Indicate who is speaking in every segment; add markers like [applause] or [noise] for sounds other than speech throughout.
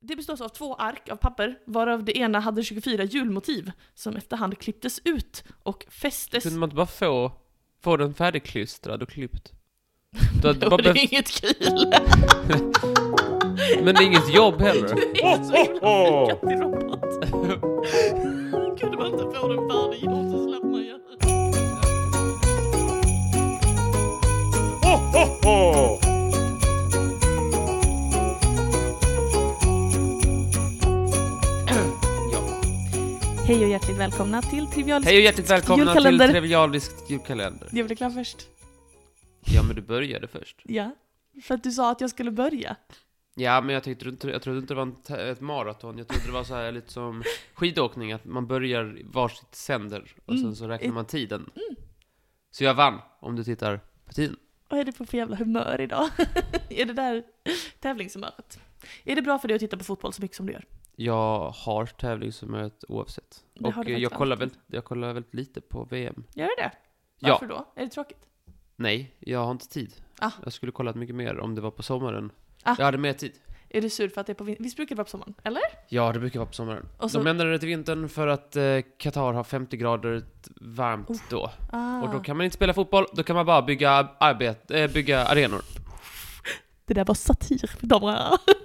Speaker 1: Det består alltså av två ark av papper, varav det ena hade 24 julmotiv som efterhand klipptes ut och fästes.
Speaker 2: Kunde man inte bara få, få den färdigklystrad och klippt? Du
Speaker 1: [laughs]
Speaker 2: hade
Speaker 1: Det
Speaker 2: bara
Speaker 1: är
Speaker 2: behövt-
Speaker 1: inget kul!
Speaker 2: men det är inget jobb heller.
Speaker 1: [laughs] Det är så himla lyckat i robot. [laughs] Kunde man inte få den färdiggjord så slapp man göra det. Hej och hjärtligt välkomna till Trivial
Speaker 2: Hej och hjärtligt välkomna till
Speaker 1: Julkalender.
Speaker 2: Trivialiskt julkalender.
Speaker 1: Jag blev klar först.
Speaker 2: Ja, men du började först.
Speaker 1: Ja. För att du sa att jag skulle börja.
Speaker 2: Ja, men jag tyckte inte, jag trodde inte det var en, t- ett maraton. Jag trodde det var så här lite som skidåkning, att man börjar i varsitt sänder och
Speaker 1: Mm.
Speaker 2: sen så räknar man tiden. Så jag vann, om du tittar på tiden.
Speaker 1: Vad är det för jävla humör idag? [laughs] är det där tävlingshumöret? Är det bra för dig att titta på fotboll så mycket som du gör?
Speaker 2: Jag har tävlingsmötet oavsett.
Speaker 1: Det har
Speaker 2: och
Speaker 1: du
Speaker 2: eh, jag
Speaker 1: faktiskt
Speaker 2: kollar,
Speaker 1: alltid.
Speaker 2: väldigt, jag kollar väldigt lite på VM.
Speaker 1: Gör du det?
Speaker 2: Ja.
Speaker 1: Varför då? Är det tråkigt?
Speaker 2: Nej, jag har inte tid.
Speaker 1: Ah.
Speaker 2: Jag skulle kollat mycket mer om det var på sommaren.
Speaker 1: Ah.
Speaker 2: Jag hade mer tid.
Speaker 1: Är du sur för att det är på vin- Visst brukar det vara på sommaren? Eller?
Speaker 2: Ja, det brukar vara på sommaren.
Speaker 1: Och så-
Speaker 2: De ändrade det till vintern för att eh, Qatar har 50 grader t- varmt då.
Speaker 1: Ah.
Speaker 2: Och då kan man inte spela fotboll, då kan man bara bygga, arbete, eh, bygga arenor.
Speaker 1: Det där var satir, damer och herrar. [laughs]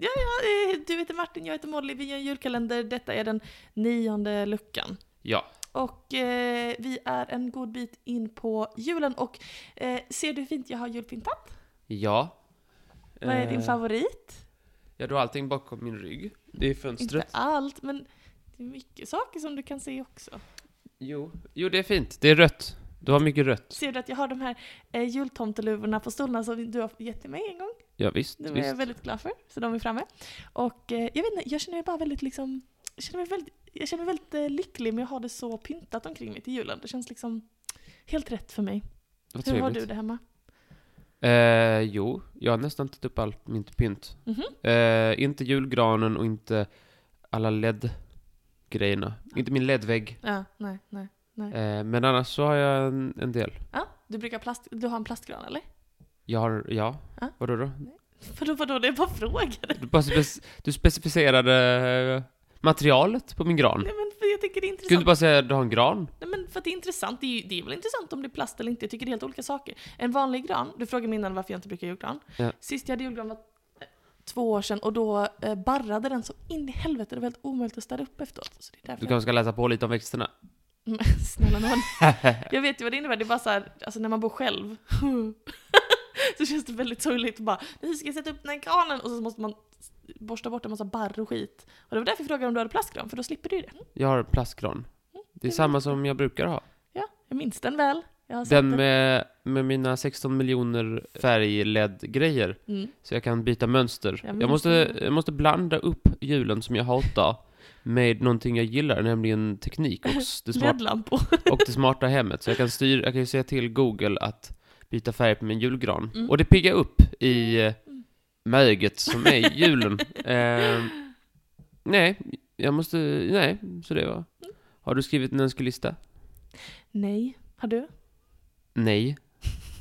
Speaker 1: Ja, ja, eh, du heter Martin, jag heter Molly, vi gör en julkalender. Detta är den nionde luckan.
Speaker 2: Ja.
Speaker 1: Och eh, vi är en god bit in på julen och eh, ser du hur fint jag har julpyntat?
Speaker 2: Ja.
Speaker 1: Vad är din
Speaker 2: Eh,
Speaker 1: favorit?
Speaker 2: Ja, du har allting bakom min rygg. Det är fönstret.
Speaker 1: Inte allt, men det är mycket saker som du kan se också.
Speaker 2: Jo. jo, det är fint. Det är rött. Du har mycket rött.
Speaker 1: Ser du att jag har de här eh, jultomteluvorna på stolarna som du har gett till mig en gång?
Speaker 2: Ja, visst.
Speaker 1: De är
Speaker 2: visst.
Speaker 1: jag väldigt glad för, så de är framme. Och eh, jag vet inte, jag känner mig bara väldigt liksom, jag känner mig väldigt, jag känner mig väldigt eh, lycklig med att ha det så pyntat omkring mig till julen. Det känns liksom helt rätt för mig.
Speaker 2: Vad
Speaker 1: Hur har
Speaker 2: trevligt.
Speaker 1: du det hemma?
Speaker 2: Eh, jo, jag har nästan tagit upp allt mitt pynt.
Speaker 1: Mhm.
Speaker 2: Eh, inte julgranen och inte alla LED-grejerna. Inte min LED-vägg.
Speaker 1: Ja, nej, nej.
Speaker 2: Eh, men annars så har jag en, en del.
Speaker 1: Ja, du brukar plast, du har en plastgran eller?
Speaker 2: Jag har, ja,
Speaker 1: Ja.
Speaker 2: vadå då?
Speaker 1: [laughs] Vadå, vadå, det är bara frågade.
Speaker 2: Du, bara spec- du specificerade eh, materialet på min gran.
Speaker 1: Nej men för jag tycker det är
Speaker 2: Skulle du inte
Speaker 1: intressant.
Speaker 2: bara säga att du har en gran?
Speaker 1: Nej men för att det är intressant, det är, ju, det är väl intressant om det är plast eller inte, jag tycker det är helt olika saker. En vanlig gran, du frågade mig innan varför jag inte brukar julgran.
Speaker 2: Ja.
Speaker 1: Sist jag hade julgran var eh, två år sedan och då eh, barrade den så in i helvete, det var helt omöjligt att städa upp efteråt. Så det är därför
Speaker 2: Du kanske ska läsa på lite om växterna?
Speaker 1: jag... Men [laughs] Snälla
Speaker 2: [laughs]
Speaker 1: nån. Jag vet ju vad det innebär, det är bara så här, alltså när man bor själv [laughs] så känns det väldigt sorgligt att bara nu ska jag sätta upp den här granen och så måste man borsta bort en massa barr och skit. Och det var därför jag frågade om du hade plastgran, för då slipper du ju det.
Speaker 2: Jag har en plastgran. Det är
Speaker 1: är
Speaker 2: samma som jag brukar ha.
Speaker 1: Ja, Mm. jag minns den väl. Jag har sett
Speaker 2: Den med, med mina 16 miljoner färg-LED-grejer.
Speaker 1: Mm.
Speaker 2: Så jag kan byta mönster.
Speaker 1: Jag minns
Speaker 2: Jag måste,
Speaker 1: det.
Speaker 2: jag måste blanda upp julen som jag hatar med någonting jag gillar, nämligen teknik och s-
Speaker 1: [laughs]
Speaker 2: det, smart,
Speaker 1: LED-lampor.
Speaker 2: och det smarta hemmet. Så jag kan, styra, jag kan ju säga till Google att byta färg på min julgran. Och det piggar upp i eh, möget som är julen. eh, nej, jag måste... Nej, så det var... Har du skrivit en önskelista?
Speaker 1: Nej, har du?
Speaker 2: Nej.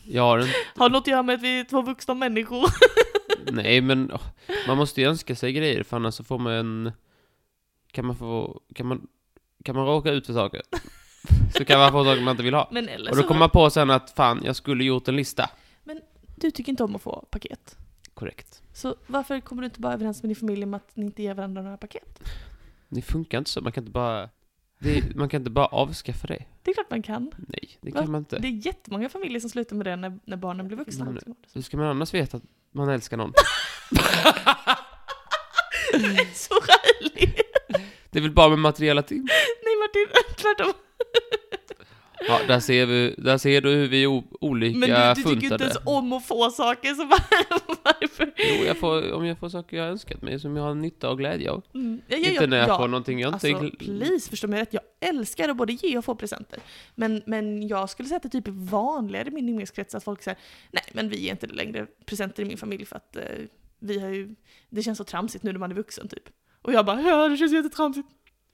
Speaker 2: Jag har en...
Speaker 1: Har något att göra med att vi är två vuxna människor?
Speaker 2: Nej, men åh, man måste ju önska sig grejer för annars så får man en... Kan man få... Kan man, kan man råka ut
Speaker 1: [laughs]
Speaker 2: för saker? Så kan man få saker man inte vill ha.
Speaker 1: Men alltså- eller
Speaker 2: Och då
Speaker 1: så
Speaker 2: kommer man på sen att fan, jag skulle gjort en lista.
Speaker 1: Du tycker inte om att få paket.
Speaker 2: Korrekt.
Speaker 1: Så varför kommer du inte bara överens med din familj om att ni inte ger varandra några paket?
Speaker 2: Det funkar inte så, man kan inte bara... Det, man kan inte bara avskaffa det.
Speaker 1: Det är klart man kan.
Speaker 2: Nej, det
Speaker 1: Va?
Speaker 2: kan man inte.
Speaker 1: Det är jättemånga familjer som slutar med det när, när barnen blir vuxna.
Speaker 2: Mm. Hur ska man annars veta att man älskar någon?
Speaker 1: Du är så rälig!
Speaker 2: Det är väl bara med materiella ting?
Speaker 1: Nej Martin, tvärtom.
Speaker 2: Ja, där ser, vi, där ser du hur vi är o- olika
Speaker 1: Men du, du tycker ju inte
Speaker 2: funtade.
Speaker 1: ens om att få saker, så var- varför?
Speaker 2: Jo, jag får, om jag får saker jag har önskat mig som jag har nytta och glädje av.
Speaker 1: Mm. Ja, ja, ja,
Speaker 2: Inte när jag
Speaker 1: ja.
Speaker 2: får någonting jag inte...
Speaker 1: Alltså, please, förstå mig rätt. Jag älskar att både ge och få presenter. Men, men jag skulle säga att det typ är vanligare i min umgängeskrets att folk säger nej, men vi ger inte längre presenter i min familj för att eh, vi har ju, det känns så tramsigt nu när man är vuxen typ. Och jag bara, ja det känns jättetramsigt. [laughs]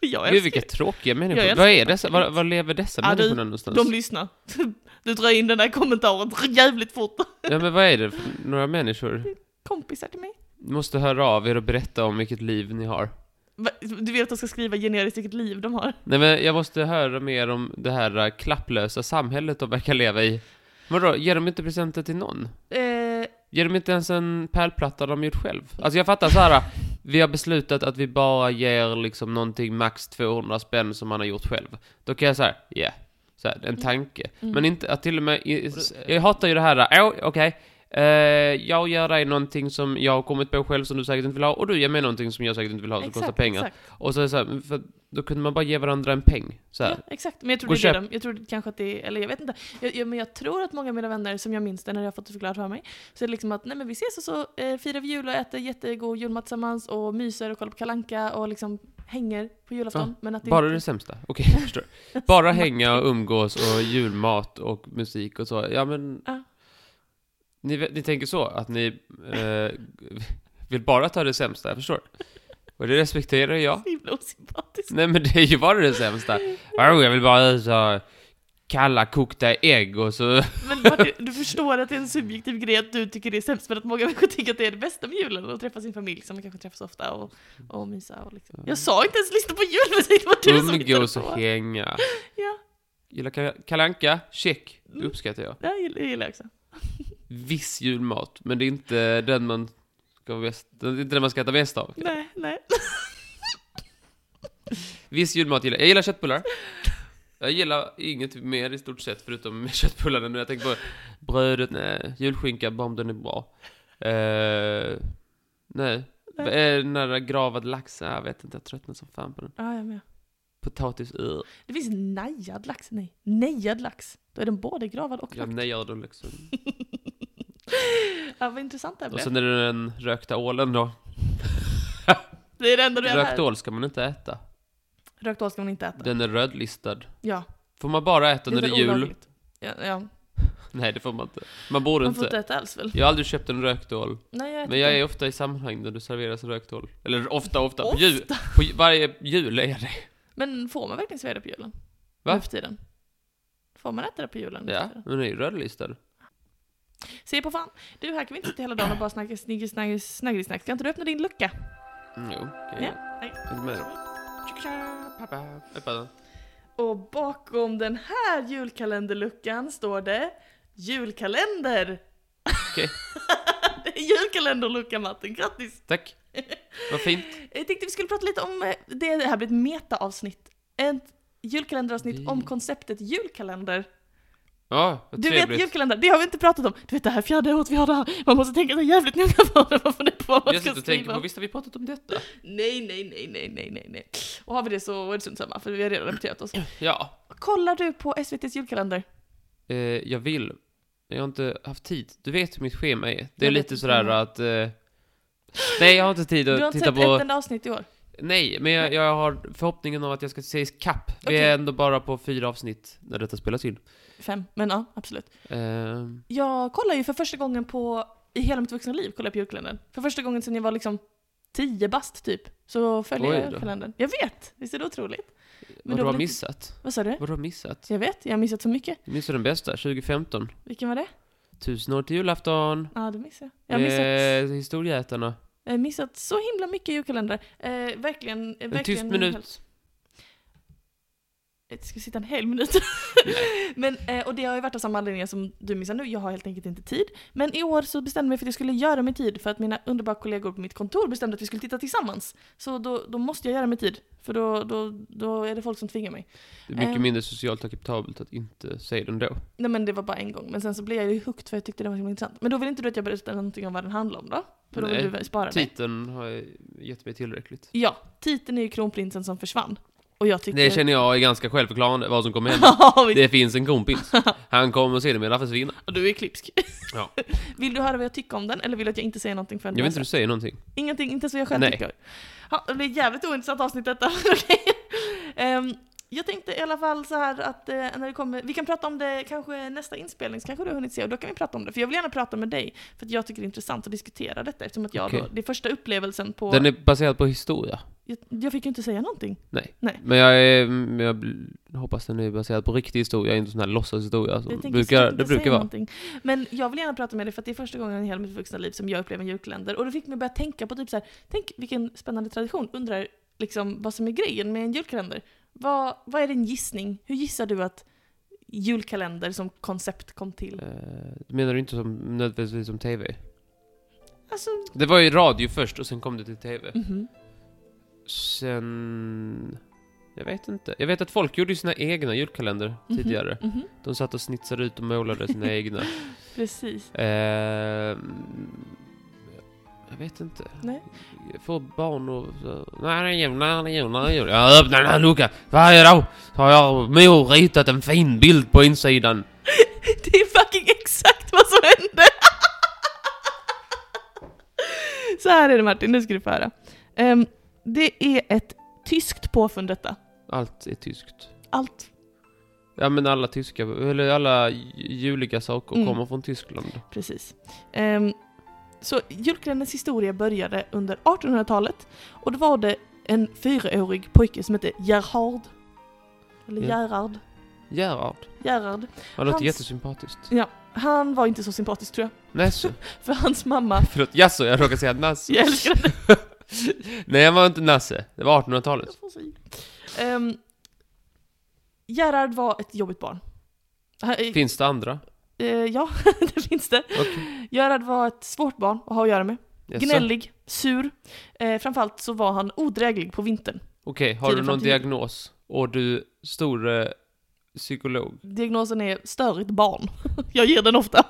Speaker 1: För jag
Speaker 2: Gud
Speaker 1: älskar
Speaker 2: vilka
Speaker 1: ju-
Speaker 2: tråkiga människor.
Speaker 1: Jag älskar
Speaker 2: Vad är
Speaker 1: det.
Speaker 2: dessa? Var, var lever dessa
Speaker 1: Ja, du,
Speaker 2: människor någonstans?
Speaker 1: De lyssnar. [laughs] Du drar in den här kommentaren [laughs] jävligt fort.
Speaker 2: Ja men vad är det för några människor?
Speaker 1: Kompisar till mig.
Speaker 2: Ni måste höra av er och berätta om vilket liv ni har.
Speaker 1: Va- Du vet att de ska skriva generiskt vilket liv de har.
Speaker 2: Nej men jag måste höra mer om det här eh, klapplösa samhället de verkar leva i. Vadå, ger de inte presenter till någon?
Speaker 1: Eh,
Speaker 2: Ger de inte ens en pärlplatta de gjort själv? Alltså jag fattar så här. vi har beslutat att vi bara ger liksom någonting max 200 spänn som man har gjort själv. Då kan jag säga, ja, yeah. så här, en tanke.
Speaker 1: Mm.
Speaker 2: Men inte, att till och med, jag hatar ju det här, åh, okej. Eh, jag ger dig någonting som jag har kommit på själv som du säkert inte vill ha och du ger mig någonting som jag säkert inte vill ha som kostar pengar.
Speaker 1: Exakt.
Speaker 2: Och så är det så här, för då kunde man bara ge varandra en peng. Så här.
Speaker 1: Ja, exakt. Men jag tror,
Speaker 2: Gå
Speaker 1: det är
Speaker 2: och
Speaker 1: det de, jag tror kanske att det är, eller jag vet inte. Jag, jag, men jag tror att många av mina vänner, som jag minns det när jag har fått det förklarat för mig, så är det liksom att nej men vi ses och så eh, firar vi jul och äter jättegod julmat tillsammans och myser och kollar på Kalanka och liksom hänger på julafton.
Speaker 2: Ja,
Speaker 1: men att det
Speaker 2: Bara
Speaker 1: inte,
Speaker 2: det sämsta. Okej,
Speaker 1: [laughs]
Speaker 2: jag förstår. Bara hänga och umgås och julmat och musik och så. Ja, men...
Speaker 1: Ja.
Speaker 2: Ni, vet- ni tänker så, att ni eh, [laughs] vill bara ta det sämsta, jag förstår. Och det respekterar jag.
Speaker 1: Så [laughs] himla osympatiskt.
Speaker 2: [laughs] Nej, men det är ju bara det sämsta. Vadå, jag vill bara ut och ha kalla kokta ägg
Speaker 1: [laughs]
Speaker 2: och så...
Speaker 1: Men Martin, du förstår att det är en subjektiv grej att du tycker det är sämst, men att många människor tycker att det är det bästa med julen, att träffa sin familj som man kanske träffas ofta och, och mysa och liksom. Jag sa inte ens lyssna på julmusik, det var du som
Speaker 2: Umgås
Speaker 1: hittade
Speaker 2: och
Speaker 1: på.
Speaker 2: hänga.
Speaker 1: Ja,
Speaker 2: Gillar Kal- Kalle Anka? Check. Det uppskattar jag.
Speaker 1: det gillar- det gillar jag också.
Speaker 2: viss julmat, men det är inte den man ska, mest, det är inte den man ska äta mest av.
Speaker 1: Nej, nej.
Speaker 2: Viss julmat gillar jag. Jag gillar köttbullar. Jag gillar inget mer i stort sett förutom [laughs] köttbullarna nu. Jag tänker på brödet, nej, julskinka, bara om den är bra. Eh, nej.
Speaker 1: Nej.
Speaker 2: nej. Den där gravad lax, nej, jag vet inte, jag tröttnar som fan på den.
Speaker 1: Ja, jag med.
Speaker 2: Potatis, ur.
Speaker 1: Det finns nejad lax. Nej, nejad lax. Då är den både gravad och
Speaker 2: Jag
Speaker 1: lagd.
Speaker 2: nejar den liksom.
Speaker 1: [laughs] Ja, vad intressant det här
Speaker 2: Och
Speaker 1: blev.
Speaker 2: sen är det den rökta ålen då.
Speaker 1: Det är det enda du är
Speaker 2: Rökt
Speaker 1: här.
Speaker 2: ål ska man inte äta.
Speaker 1: Rökt ål ska man inte äta.
Speaker 2: Den är rödlistad.
Speaker 1: Ja.
Speaker 2: Får man bara äta när det
Speaker 1: väl
Speaker 2: är jul?
Speaker 1: olagligt. Ja, ja.
Speaker 2: Nej, det får man inte. Man borde
Speaker 1: Man
Speaker 2: inte.
Speaker 1: får inte äta alls väl?
Speaker 2: Jag har aldrig köpt en rökt ål.
Speaker 1: Nej, jag äter
Speaker 2: Men jag är
Speaker 1: inte.
Speaker 2: ofta i sammanhang där det serveras rökt ål. Eller ofta, ofta. På
Speaker 1: Ofta.
Speaker 2: jul, på ju- varje jul är jag det.
Speaker 1: Men får man verkligen servera det på julen?
Speaker 2: Va?
Speaker 1: Nu för tiden. Får man äta det på julen? nu
Speaker 2: Ja,
Speaker 1: för tiden?
Speaker 2: men det är ju rödlistad.
Speaker 1: Se på fan. Du, här kan vi inte sitta hela dagen och bara snacka sniggelisnaggis. Snack. Ska inte du öppna din lucka?
Speaker 2: Mm, Jo, okej.
Speaker 1: Ja,
Speaker 2: Jag
Speaker 1: nej.
Speaker 2: är inte med då. Pappa, öppna den.
Speaker 1: Och bakom den här julkalenderluckan står det julkalender!
Speaker 2: Okej.
Speaker 1: [laughs] det är julkalenderlucka Martin, grattis!
Speaker 2: Tack. Vad fint.
Speaker 1: Jag tänkte vi skulle prata lite om, eh, det det här blir ett metaavsnitt. Ett julkalenderavsnitt
Speaker 2: Vi-
Speaker 1: om konceptet julkalender.
Speaker 2: Ja, vad
Speaker 1: Du vet
Speaker 2: trevligt.
Speaker 1: julkalender, det har vi inte pratat om. Du vet det här fjärde året vi har det här, man måste tänka sig jävligt noga på det, man får det på vad man
Speaker 2: Jag
Speaker 1: ska
Speaker 2: sitter och tänker
Speaker 1: skriva.
Speaker 2: på, visst har vi pratat om detta?
Speaker 1: Nej, nej, nej, nej, nej, nej, nej. Och har vi det så är det strunt samma, för vi har redan repeterat oss.
Speaker 2: Ja.
Speaker 1: Kollar du på SVT's julkalender?
Speaker 2: Eh, jag vill. Jag har inte haft tid. Du vet hur mitt schema är. Det är
Speaker 1: Jag vet
Speaker 2: lite
Speaker 1: inte.
Speaker 2: sådär att... Eh... Nej, jag har inte tid
Speaker 1: Du har
Speaker 2: att
Speaker 1: inte
Speaker 2: titta
Speaker 1: sett
Speaker 2: på...
Speaker 1: ett enda avsnitt i år?
Speaker 2: Nej, men jag, jag har förhoppningen om att jag ska se kapp. Vi
Speaker 1: Okej.
Speaker 2: är ändå bara på fyra avsnitt när detta spelas in.
Speaker 1: Fem, men ja, absolut.
Speaker 2: Ehm,
Speaker 1: Jag kollar ju för första gången på, i hela mitt vuxna liv, kollar jag på julkalendern. För första gången sedan jag var liksom tio bast typ, så följer
Speaker 2: Oj
Speaker 1: jag
Speaker 2: då.
Speaker 1: julkalendern. Jag vet! Visst är det otroligt?
Speaker 2: vad
Speaker 1: då
Speaker 2: du har
Speaker 1: var det-
Speaker 2: missat?
Speaker 1: Vad sa du?
Speaker 2: Vad du har missat?
Speaker 1: Jag vet, jag har missat så mycket.
Speaker 2: Du missade den bästa, 2015.
Speaker 1: Vilken var det?
Speaker 2: Tusen år till julafton.
Speaker 1: Ja, det missade jag. Jag har missat,
Speaker 2: Eh, historieätarna.
Speaker 1: jag har missat så himla mycket julkalendrar. Eh, verkligen, eh, verkligen.
Speaker 2: En tyst minut.
Speaker 1: Det ska sitta en hel minut. [laughs] men, eh, och det har ju varit av samma anledning som du missar nu, jag har helt enkelt inte tid. Men i år så bestämde jag mig för att jag skulle göra mig tid för att mina underbara kollegor på mitt kontor bestämde att vi skulle titta tillsammans. Så då, då måste jag göra mig tid, för då, då, då är det folk som tvingar mig.
Speaker 2: Det är mycket
Speaker 1: Ehm.
Speaker 2: mindre socialt acceptabelt att inte säga den då.
Speaker 1: Nej men det var bara en gång, men sen så blev jag ju hooked för jag tyckte det var så himla intressant. Men då vill inte du att jag berättar någonting om vad den handlar om då? För då
Speaker 2: Nej.
Speaker 1: vill du spara mig.
Speaker 2: eh, Titeln har gett mig tillräckligt.
Speaker 1: Ja, titeln är ju kronprinsen som försvann. Och jag tycker...
Speaker 2: Det
Speaker 1: [laughs]
Speaker 2: känner jag är ganska självförklarande, vad som kommer hända.
Speaker 1: Ja, visst.
Speaker 2: Det finns en
Speaker 1: [laughs]
Speaker 2: kronprins. Han kommer sedermera försvinna.
Speaker 1: Och du är klipsk.
Speaker 2: Ja.
Speaker 1: [laughs] Vill du höra vad jag tycker om den, eller vill du att jag inte säger någonting förrän
Speaker 2: Jag
Speaker 1: du
Speaker 2: vet
Speaker 1: har
Speaker 2: inte, du säger någonting.
Speaker 1: Ingenting, inte så jag själv
Speaker 2: Nej.
Speaker 1: tycker. Ja, det blir ett jävligt ointressant avsnitt detta. [laughs] Okej. Ehm, jag tänkte i alla fall så här att eh, när det kommer, vi kan prata om det kanske nästa inspelning, så kanske du har hunnit se och då kan vi prata om det. För jag vill gärna prata med dig, för att jag tycker det är intressant att diskutera detta eftersom att jag
Speaker 2: Okej.
Speaker 1: då, det är första upplevelsen på...
Speaker 2: Den är baserad på historia.
Speaker 1: jag, jag fick ju inte säga någonting.
Speaker 2: Nej.
Speaker 1: Nej.
Speaker 2: Men jag är... men Jag, bl- Jag hoppas den är baserad på riktig historia, inte sån här låtsashistoria som
Speaker 1: Jag tänker
Speaker 2: brukar,
Speaker 1: sluta
Speaker 2: det
Speaker 1: säga
Speaker 2: brukar vara.
Speaker 1: någonting. Men jag vill gärna prata med dig för att det är första gången i hela mitt vuxna liv som jag upplever en julkalender. Och det fick mig börja tänka på typ så här, tänk vilken spännande tradition. Undrar liksom vad som är grejen med en julkalender. Vad, vad är din gissning? Hur gissar du att julkalender som koncept kom till?
Speaker 2: Eh, menar du inte som, nödvändigtvis som TV?
Speaker 1: Alltså,
Speaker 2: Det var ju radio först och sen kom det till TV.
Speaker 1: mhm.
Speaker 2: Sen... Jag vet inte. Jag vet att folk gjorde ju sina egna julkalender
Speaker 1: Mhm.
Speaker 2: tidigare.
Speaker 1: mhm.
Speaker 2: De satt och snitsade ut och målade sina egna. [laughs]
Speaker 1: Precis.
Speaker 2: Eh, jag vet inte.
Speaker 1: Nej.
Speaker 2: Får barn och... så- Nej, det är jul, nej, det är jul, nej, det är jul. Jag öppnar den här luckan. Varje dag har jag mor ritat en fin bild på insidan.
Speaker 1: Det är fucking exakt vad som hände! [laughs] Så här är det Martin, nu ska du få höra. Ehm, det är ett tyskt påfund detta.
Speaker 2: Allt är tyskt.
Speaker 1: Allt
Speaker 2: Ja men alla tyska, eller alla ju- juliga saker
Speaker 1: Mm.
Speaker 2: kommer från Tyskland.
Speaker 1: Precis. Ehm, så julkalenderns historia började under 1800-talet och då var det en fyraårig pojke som hette Gerhard. Eller
Speaker 2: Ja.
Speaker 1: Gerhard.
Speaker 2: Gerhard.
Speaker 1: Gerhard.
Speaker 2: Han låter
Speaker 1: Hans-
Speaker 2: jättesympatiskt.
Speaker 1: Han var inte så sympatisk tror
Speaker 2: Nässjö.
Speaker 1: jag. För hans mamma,
Speaker 2: Förlåt, jaså, jag råkade säga Nasse.
Speaker 1: jag älskar henne.
Speaker 2: Nej, han var inte Nasse. Det var 1800-talet.
Speaker 1: Jag får se. Ehm, Gerhard var ett jobbigt barn. Han- eh,
Speaker 2: Finns det andra?
Speaker 1: eh, ja, [laughs] det finns det.
Speaker 2: Okej.
Speaker 1: Gerhard var ett svårt barn att ha att göra med.
Speaker 2: Jaså?
Speaker 1: Gnällig, sur. Eh, framförallt så var han odräglig på vintern.
Speaker 2: Okej, har du
Speaker 1: Tiden
Speaker 2: någon
Speaker 1: fram till jul.
Speaker 2: diagnos? Och du, stor eh, psykolog.
Speaker 1: Diagnosen är störigt barn. [laughs] Jag ger den ofta.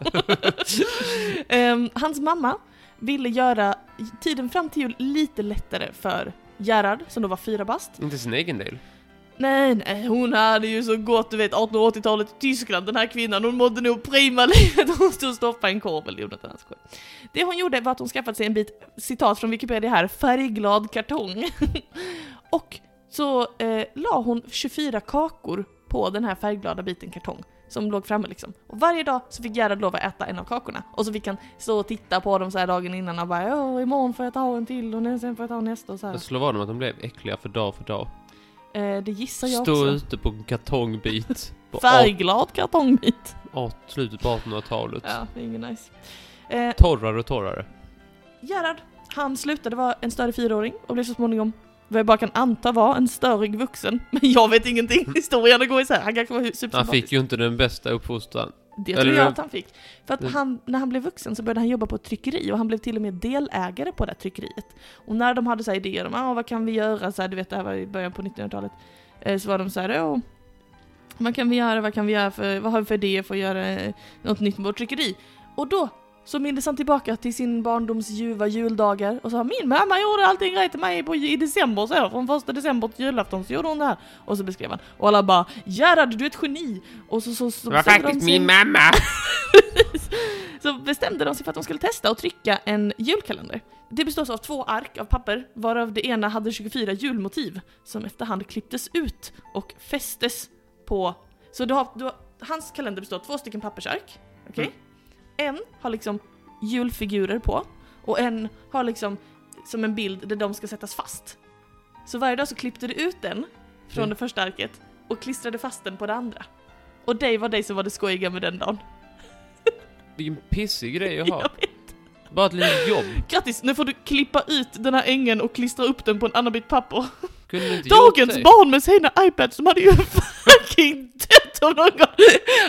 Speaker 1: Ehm, hans mamma ville göra tiden fram till jul lite lättare för Gerhard, som då var fyra bast.
Speaker 2: Inte sin egen del.
Speaker 1: Nej, nej, hon hade ju så gott, du vet, 1880-talet i Tyskland, den här kvinnan, hon mådde nog prima [laughs] livet. Hon stod och stoppade en korv, eller gjorde inte annars skoj. Det hon gjorde var att hon skaffade sig en bit, citat från Wikipedia här, färgglad kartong. [laughs] och så eh, la hon 24 kakor på den här färgglada biten kartong som låg framme liksom. Och varje dag så fick Gerhard lov att äta en av kakorna. Och så fick han stå och titta på dem så här dagen innan och bara åh, imorgon får jag ta en till och sen får jag ta nästa och så här.
Speaker 2: Jag slår vad om att de blev äckliga för dag för dag.
Speaker 1: Eh, det gissar jag
Speaker 2: Stå
Speaker 1: också.
Speaker 2: ute på
Speaker 1: [laughs]
Speaker 2: en kartongbit. På art,
Speaker 1: Färgglad kartongbit.
Speaker 2: art, slutet på 1800-talet.
Speaker 1: Ja, det är inget nice. Eh,
Speaker 2: Torrare och torrare.
Speaker 1: Gerhard, han slutade vara en större fyraåring och blev så småningom vad jag bara kan anta var en störig vuxen. Men jag vet ingenting, [laughs] historien går isär. Han kanske var hu-
Speaker 2: Han
Speaker 1: supersympatisk.
Speaker 2: fick ju inte den bästa uppfostran.
Speaker 1: Det tror
Speaker 2: eller-
Speaker 1: jag att han fick. För att
Speaker 2: Mm.
Speaker 1: han, när han blev vuxen så började han jobba på ett tryckeri och han blev till och med delägare på det här tryckeriet. Och när de hade så här idéer om ah, vad kan vi göra, så här, du vet det här var i början på 1900-talet, eh, så var de så här, Åh, vad kan vi göra, vad kan vi göra för, vad har vi för idéer för att göra eh, något nytt med vårt tryckeri? Och då så mindes han tillbaka till sin barndoms ljuva juldagar och sa min mamma gjorde allting rätt till mig på, i december så här, från första december till julafton så gjorde hon det här. Och så beskrev han, och alla bara Gerhard du är ett geni! Och så, så, så,
Speaker 2: Det var
Speaker 1: bestämde de
Speaker 2: faktiskt
Speaker 1: sig-
Speaker 2: min mamma!
Speaker 1: så bestämde de sig för att de skulle testa och trycka en julkalender. Det består av två ark av papper, varav det ena hade 24 julmotiv som efterhand klipptes ut och fästes på... Så du har, du har, hans kalender består av två stycken pappersark. Okej? En har liksom julfigurer på och en har liksom som en bild där de ska sättas fast. Så varje dag så klippte du ut den från
Speaker 2: Mm.
Speaker 1: det första arket och klistrade fast den på det andra. Och dig var dig som var det skojiga med den dagen.
Speaker 2: Vilken pissig grej
Speaker 1: [laughs]
Speaker 2: att
Speaker 1: Jag
Speaker 2: ha. Bara ett litet jobb.
Speaker 1: Grattis, nu får du klippa ut den här ängen och klistra upp den på en annan bit papper.
Speaker 2: Kunde du inte
Speaker 1: Dagens
Speaker 2: gjort det?
Speaker 1: barn med sina iPads, de hade ju [laughs] fucking dött om någon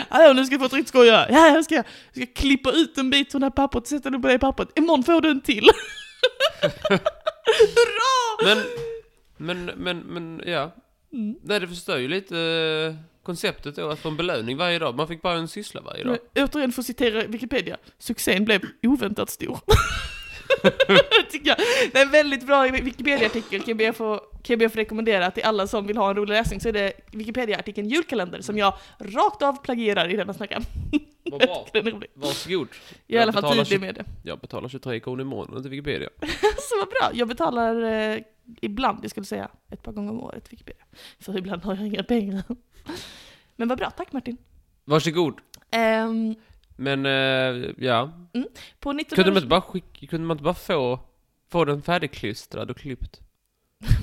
Speaker 1: Hallå, nu ska jag få ett riktigt skoj här. Ja, jag ska, jag ska klippa ut en bit från det här pappret, sätta den på det pappret. Imorgon får du en till. [laughs] Hurra!
Speaker 2: Men, men, men, men, ja.
Speaker 1: Mm.
Speaker 2: Nej, det förstör ju lite eh, konceptet då, att få en belöning varje dag. Man fick bara en syssla varje dag.
Speaker 1: Men, återigen får citera Wikipedia. Succén blev oväntat
Speaker 2: [laughs]
Speaker 1: stor. [laughs] Tycker jag. Det är en väldigt bra Wikipedia-artikel, kan jag be att få, kan jag be att få rekommendera till alla som vill ha en rolig läsning så är det Wikipedia-artikeln Julkalender som jag rakt av plagierar i denna snackan. [laughs]
Speaker 2: Vad bra.
Speaker 1: Den är rolig.
Speaker 2: Varsågod.
Speaker 1: Jag är i alla fall
Speaker 2: betalar
Speaker 1: tydlig med det. [laughs]
Speaker 2: Jag betalar 23 kronor i månaden till Wikipedia.
Speaker 1: Så vad bra, jag betalar eh, ibland, jag skulle säga ett par gånger om året Wikipedia. För ibland har jag inga pengar. [laughs] Men vad bra, tack Martin.
Speaker 2: Varsågod.
Speaker 1: Ehm,
Speaker 2: Men, eh, ja.
Speaker 1: på 19...
Speaker 2: Kunde man inte bara skicka, kunde man inte bara få, få
Speaker 1: [laughs]
Speaker 2: den färdigklistrad och klippt?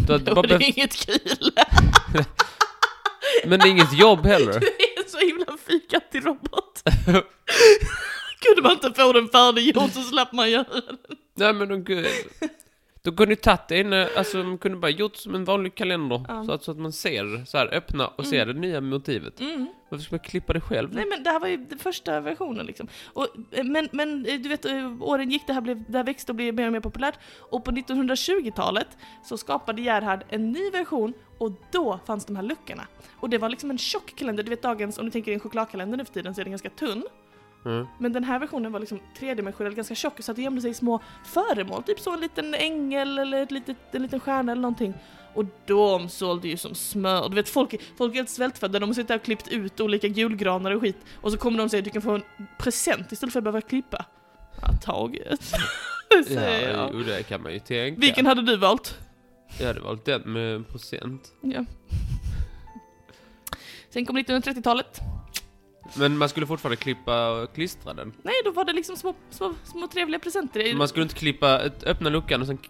Speaker 2: Du hade
Speaker 1: Jo,
Speaker 2: bara
Speaker 1: det
Speaker 2: behövt
Speaker 1: är inget kul.
Speaker 2: [laughs] Men det är inget jobb heller.
Speaker 1: Du är en så himla fyrkantig
Speaker 2: [laughs]
Speaker 1: robot. Kunde man inte få den färdiggjord så slapp man göra det.
Speaker 2: Nej men de kunde... De kunde ju tagit det inne, alltså de kunde bara gjort som en vanlig kalender.
Speaker 1: Ja.
Speaker 2: Så, att, så att man ser, så här öppna och ser det nya motivet.
Speaker 1: Mm.
Speaker 2: Varför ska man klippa det själv?
Speaker 1: Nej men det här var ju den första versionen liksom. Och, eh, men, men eh, du vet, eh, åren gick, det här, blev, det här växte och blev mer och mer populärt. Och på 1920-talet så skapade Gerhard en ny version och då fanns de här luckorna. Och det var liksom en tjock kalender, du vet dagens, om du tänker en chokladkalender nu för tiden så är den ganska tunn.
Speaker 2: Mm.
Speaker 1: Men den här versionen var liksom tredimensionell, ganska tjock, så att det gömde sig i små föremål. Typ så en liten ängel eller ett litet, en liten stjärna eller någonting. Och de sålde ju som smör. Du vet folk, folk är helt svältfödda, de har suttit där och klippt ut olika julgranar och skit. Och så kommer de och säger du kan få en present istället för att behöva klippa. Ja, taget. [laughs] Det säger
Speaker 2: Ja,
Speaker 1: jag.
Speaker 2: jo, det kan man ju tänka.
Speaker 1: Vilken hade du valt?
Speaker 2: Jag hade valt den med procent.
Speaker 1: Ja. Sen kom 1930-talet.
Speaker 2: Men man skulle fortfarande klippa och klistra den.
Speaker 1: Nej, då var det liksom små, små, små trevliga presenter.
Speaker 2: Man skulle inte klippa, ett- öppna luckan och sen k-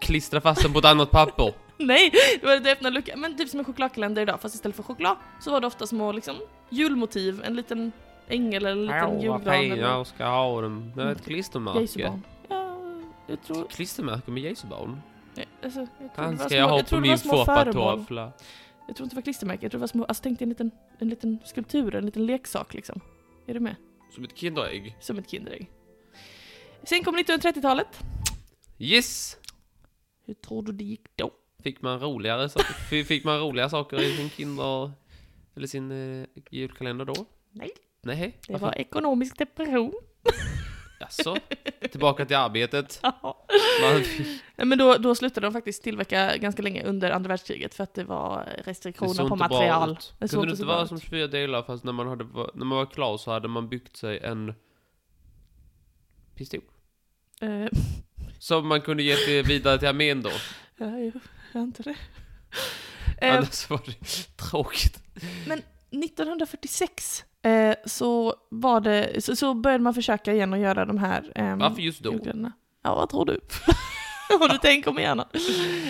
Speaker 2: klistra fast den på ett annat papper.
Speaker 1: Nej, det var det öppna luckan. Men typ som en chokladkalender idag, fast istället för choklad så var det ofta små liksom, julmotiv. En liten ängel eller [laughs] en liten
Speaker 2: Åh, vad
Speaker 1: julgran.
Speaker 2: fin
Speaker 1: eller
Speaker 2: jag ska ha den. Det är ett klistermärke.
Speaker 1: Jesubarn. Ja, jag tror...
Speaker 2: Klistermärke med Jesubarn?
Speaker 1: ja, Alltså, jag tror det var
Speaker 2: Han ska
Speaker 1: små,
Speaker 2: jag ha
Speaker 1: jag
Speaker 2: på
Speaker 1: tror det var
Speaker 2: min
Speaker 1: små föremål.
Speaker 2: foppatoffla.
Speaker 1: Jag tror inte det var klistermärken, jag tror det var små... Alltså tänk dig en liten, en liten skulptur, en liten leksak liksom. Är du med?
Speaker 2: Som ett Kinderägg.
Speaker 1: Som ett Kinderägg. Sen kom 1930-talet.
Speaker 2: Yes!
Speaker 1: Hur tror du det gick då?
Speaker 2: Fick man roligare, sa- f- fick man roliga saker i sin Kinder... Eller sin eh, julkalender då?
Speaker 1: Nej.
Speaker 2: Nej,
Speaker 1: Det
Speaker 2: varför?
Speaker 1: var ekonomisk depression. [laughs]
Speaker 2: Jaså? Tillbaka till arbetet.
Speaker 1: Ja. [laughs]
Speaker 2: Man [laughs] fick...
Speaker 1: Nej, men då, då slutade de faktiskt tillverka ganska länge under andra världskriget för att det var
Speaker 2: Det såg
Speaker 1: restriktioner
Speaker 2: inte
Speaker 1: på
Speaker 2: bra
Speaker 1: material.
Speaker 2: ut.
Speaker 1: Det såg
Speaker 2: Kunde
Speaker 1: inte
Speaker 2: det inte
Speaker 1: så bra
Speaker 2: vara
Speaker 1: ut.
Speaker 2: som 24 delar fast när man, hade, när man var klar så hade man byggt sig en pistol?
Speaker 1: Eh,
Speaker 2: Som man kunde ge till, vidare till armén då.
Speaker 1: ja, jo, jag antar det. [laughs] Eh,
Speaker 2: Annars var det tråkigt.
Speaker 1: 1946 eh, så, var det, så, så började man försöka igen att göra de här ehm,
Speaker 2: Varför just då?
Speaker 1: julgranar. Ja, vad tror du? [laughs] Har du tänkt om igen?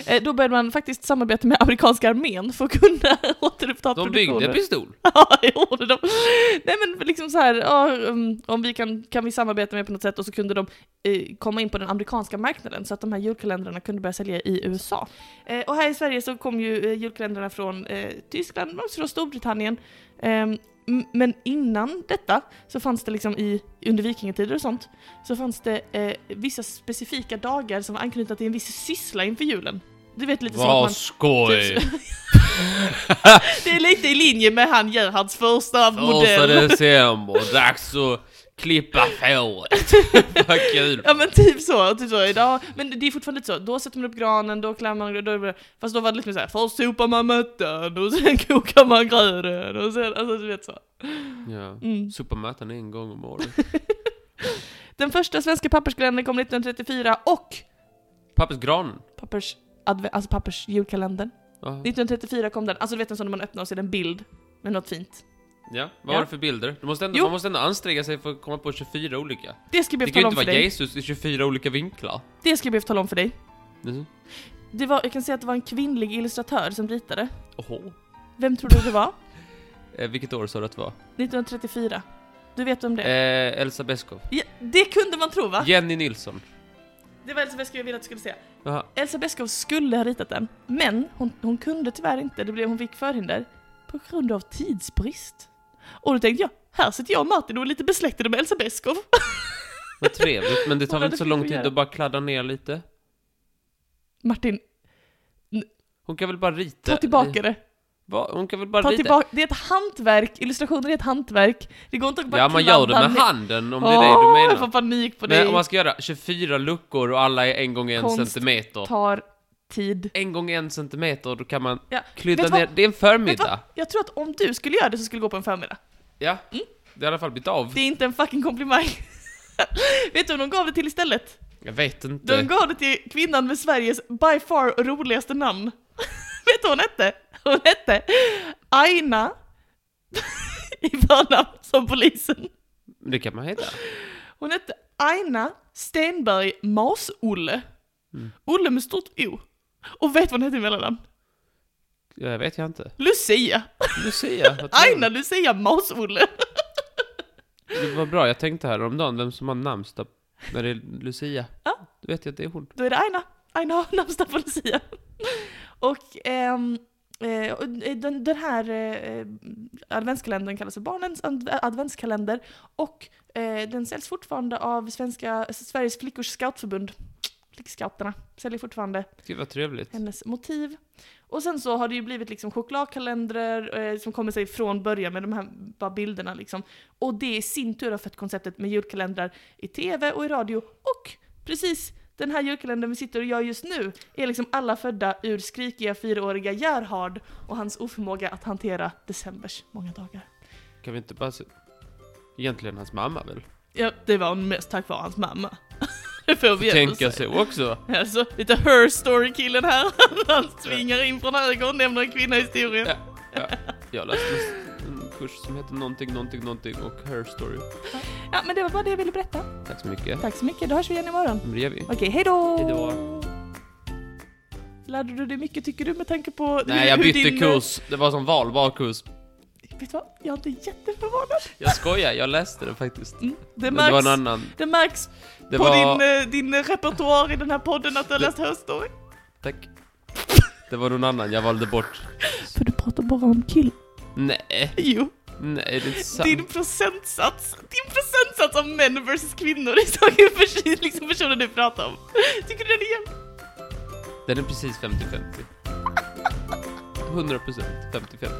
Speaker 1: Eh, då började man faktiskt samarbeta med amerikanska armén för att kunna [laughs] återuppta
Speaker 2: De
Speaker 1: produktionen.
Speaker 2: byggde en pistol.
Speaker 1: Ja, [laughs] det gjorde de. Nej men liksom så här, ja, um, om vi kan, kan vi samarbeta med på något sätt och så kunde de eh, komma in på den amerikanska marknaden så att de här julkalendrarna kunde börja sälja i USA. Eh, och här i Sverige så kom ju eh, julkalendrarna från eh, Tyskland, men också från Storbritannien. Ehm, m- men innan detta så fanns det liksom i, under vikingatider och sånt, så fanns det eh, vissa specifika dagar som var anknutna till en viss syssla inför julen. Du vet lite som att man
Speaker 2: Vad skoj! [laughs]
Speaker 1: det är lite i linje med han Gerhards första
Speaker 2: Första
Speaker 1: modell.
Speaker 2: december, dags att klippa
Speaker 1: [laughs]
Speaker 2: fåret. [laughs] Vad kul!
Speaker 1: Ja men typ så, typ så idag. Men det är fortfarande lite så, då sätter man upp granen, då klär man då, Fast då var det lite mer såhär, först sopar man möttan och sen [laughs] kokar man gröden och sen, alltså du vet så.
Speaker 2: Ja.
Speaker 1: Mm.
Speaker 2: Sopa mattan en gång om året.
Speaker 1: Den första svenska papperskalendern kom 1934 och
Speaker 2: Pappersgranen.
Speaker 1: pappers, adve, alltså pappers julkalendern.
Speaker 2: Ja.
Speaker 1: 1934 kom den, alltså du vet en sån när man öppnar och ser en bild med något fint.
Speaker 2: Ja, vad
Speaker 1: Ja.
Speaker 2: var det för bilder? Du måste ändå,
Speaker 1: Jo.
Speaker 2: man måste ändå anstränga sig för att komma på 24 olika.
Speaker 1: Det ska jag be
Speaker 2: Det
Speaker 1: att
Speaker 2: kan ju
Speaker 1: tala
Speaker 2: inte
Speaker 1: om för
Speaker 2: vara
Speaker 1: dig.
Speaker 2: Jesus i 24 olika vinklar.
Speaker 1: Det ska jag be att tala om för dig.
Speaker 2: Mhm.
Speaker 1: Det var, jag kan säga att det var en kvinnlig illustratör som ritade.
Speaker 2: Oho.
Speaker 1: Vem tror du det var?
Speaker 2: Eh, vilket år sa du att det var?
Speaker 1: 1934. Du vet om det?
Speaker 2: Eh, Elsa Beskow.
Speaker 1: Ja, det kunde man tro va?
Speaker 2: Jenny Nilsson.
Speaker 1: Det var Elsa Beskow jag ville att du skulle säga.
Speaker 2: Jaha.
Speaker 1: Elsa Beskow skulle ha ritat den, men hon, hon kunde tyvärr inte, det blev, hon fick förhinder på grund av tidsbrist. Och då tänkte jag, här sitter jag och Martin och är lite besläktade med Elsa Beskow.
Speaker 2: Vad trevligt, men det tar
Speaker 1: Hon hade
Speaker 2: väl inte så
Speaker 1: fått
Speaker 2: lång
Speaker 1: att
Speaker 2: tid
Speaker 1: göra.
Speaker 2: att bara kladda ner lite?
Speaker 1: Martin,
Speaker 2: Hon kan väl bara rita? Eh,
Speaker 1: ta tillbaka det.
Speaker 2: Va? Hon kan väl bara
Speaker 1: Ta
Speaker 2: rita?
Speaker 1: tillbaka, det är ett hantverk, illustrationer är ett hantverk. Det går inte att bara
Speaker 2: Ja, man gör det
Speaker 1: kladda
Speaker 2: med
Speaker 1: ner-
Speaker 2: handen om det är det du
Speaker 1: Åh,
Speaker 2: menar.
Speaker 1: Jag får panik på
Speaker 2: Men
Speaker 1: dig.
Speaker 2: om man ska göra 24 luckor och alla är en gång en
Speaker 1: Konst
Speaker 2: centimeter.
Speaker 1: Tar tid.
Speaker 2: En gång en centimeter, då kan man
Speaker 1: Ja.
Speaker 2: klydda
Speaker 1: Vet du
Speaker 2: ner.
Speaker 1: vad?
Speaker 2: Det är en
Speaker 1: Vet du vad?
Speaker 2: förmiddag.
Speaker 1: Jag tror att om du skulle göra det så skulle det gå på en förmiddag.
Speaker 2: Ja. Det har i alla fall blivit av.
Speaker 1: Mm. Det är inte en fucking komplimang. [laughs] Vet du vad de gav det till istället?
Speaker 2: Jag vet
Speaker 1: De
Speaker 2: inte.
Speaker 1: gav det till kvinnan med Sveriges by far roligaste namn. [laughs] Vet du vad hon hette? Hon hette Aina [laughs] i förnamn som polisen.
Speaker 2: Men Det kan man heta.
Speaker 1: Hon hette Aina Stenberg Mas-Olle. Olle med stort O. Och vet du vad hon hette i mellannamn?
Speaker 2: Ja, jag vet jag inte.
Speaker 1: Lucia!
Speaker 2: Lucia. vad tror du?
Speaker 1: Aina Lucia Maus-Olle!
Speaker 2: Det var bra, jag tänkte häromdagen vem som har namnsdag när det är Lucia.
Speaker 1: Ja.
Speaker 2: Då vet jag att det är hon.
Speaker 1: Då är det Aina. Aina har [laughs] namnsdag på Lucia. Och ehm, eh, och den, den här eh, adventskalendern kallas för Barnens adv- adventskalender och eh, den säljs fortfarande av svenska, Sveriges flickors scoutförbund. Flickscouterna säljer fortfarande
Speaker 2: Gud vad trevligt.
Speaker 1: hennes motiv. Och sen så har det ju blivit liksom chokladkalendrar eh, som kommer sig från början med de här bara bilderna liksom. Och det i sin tur har fött konceptet med julkalendrar i tv och i radio och precis den här julkalendern vi sitter och gör just nu är liksom alla födda ur skrikiga fyraåriga Gerhard och hans oförmåga att hantera decembers många dagar.
Speaker 2: Kan vi inte bara se... Egentligen hans mamma väl?
Speaker 1: Ja, det var mest tack vare hans mamma. [laughs] det får vi ändå
Speaker 2: Tänka sig också.
Speaker 1: Alltså, lite her story-killen här. [laughs] Han tvingar in från höger och nämner en kvinna i historien.
Speaker 2: Ja. Jag läste en kurs som heter någonting, någonting, någonting och Her Story.
Speaker 1: Ja, men det var bara det jag ville berätta.
Speaker 2: Tack så mycket.
Speaker 1: Tack så mycket, då hörs vi igen imorgon.
Speaker 2: Men det gör vi.
Speaker 1: Okej, hej då!
Speaker 2: Hej då.
Speaker 1: Lärde du dig mycket tycker du med tanke på
Speaker 2: Nej, jag bytte
Speaker 1: eh,
Speaker 2: kurs. Det var som valbar kurs.
Speaker 1: Vet du vad? Jag är inte jätteförvånad.
Speaker 2: Jag skojar, jag läste det faktiskt.
Speaker 1: Mm, det
Speaker 2: Men det var
Speaker 1: märks,
Speaker 2: en annan.
Speaker 1: det märks
Speaker 2: Det
Speaker 1: på
Speaker 2: var...
Speaker 1: din, eh, din eh, repertoar i den här podden att du har
Speaker 2: Det-
Speaker 1: läst Hörstory.
Speaker 2: Tack. Det var någon annan jag valde bort.
Speaker 1: För du pratar bara om kill.
Speaker 2: Nej,
Speaker 1: Jo,
Speaker 2: nej, det är inte sant.
Speaker 1: din procentsats, din procentsats av män versus kvinnor [laughs] är så- pers- liksom personen du pratar om. Tycker du den är jämn?
Speaker 2: Den är precis 50-50. 100% 50-50.